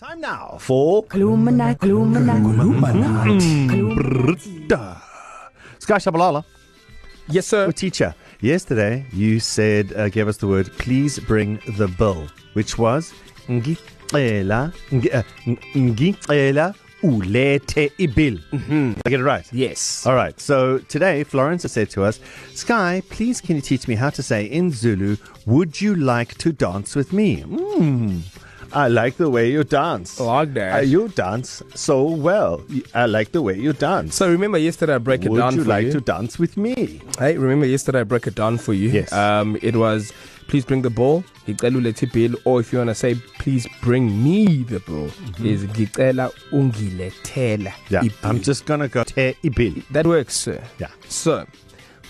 Time now for Glumina, Sky Shabalala, Yes, sir. your teacher. Yesterday, you said, uh, gave us the word, please bring the bill, which was ngicela, ngi- uh, ngicela ulete ibil. Mm-hmm. I get it right? Yes. All right. So today, Florence has said to us, Sky, please can you teach me how to say in Zulu, would you like to dance with me? Mm. I like the way you dance. Like that. Uh, you dance so well. I like the way you dance. So remember yesterday I break it Would down you for like you. to dance with me? Hey, remember yesterday I broke it down for you. Yes. Um, it was please bring the ball, ngicela ulethe bill, or if you want to say please bring me the ball, mm-hmm. is ngicela ungilethela Yeah. i-bill. I'm just gonna go te ibil. That works, sir. Yeah. So,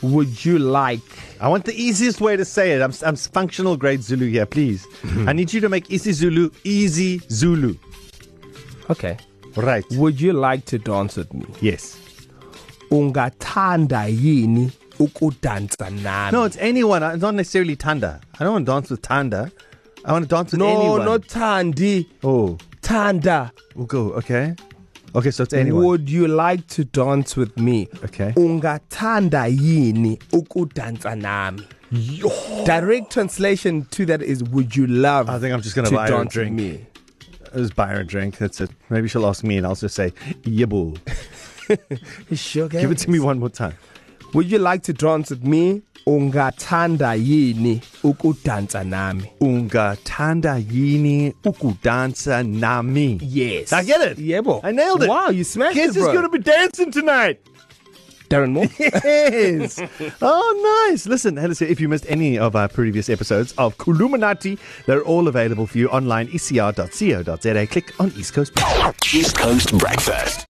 would you like? I want the easiest way to say it. I'm, I'm functional grade Zulu here, please. I need you to make easy Zulu easy Zulu. Okay. Right. Would you like to dance with me? Yes. Ungathanda yini ukudansa nami? No, it's anyone. It's not necessarily Tanda. I don't want to dance with Tanda. I want to dance with no, anyone. not Tandi. Oh, Tanda. we'll go. Okay. Okay, so it's anyone. Would you like to dance with me? Okay. Ungathanda yini ukudansa nami? Yo. Direct translation to that is would you love I think I'm just gonna to buy her a dance with drink. me? Let's buy her a drink. That's it. Maybe she'll ask me, and I'll just say, "Yibu." Sugar. Give it to me one more time. Would you like to dance with me? Ungathanda yini ukudansa nami? Ungatanda yini ukudansa nami. Yes. I get it. Yebo. I nailed it. Wow, you smashed Kids it, bro. is going to be dancing tonight. Darren Moore. Yes. oh, nice. Listen, Alistair, if you missed any of our previous episodes of Kuluminati, they're all E available for you online, ecr.co.za. Click on East Coast. East Coast Breakfast.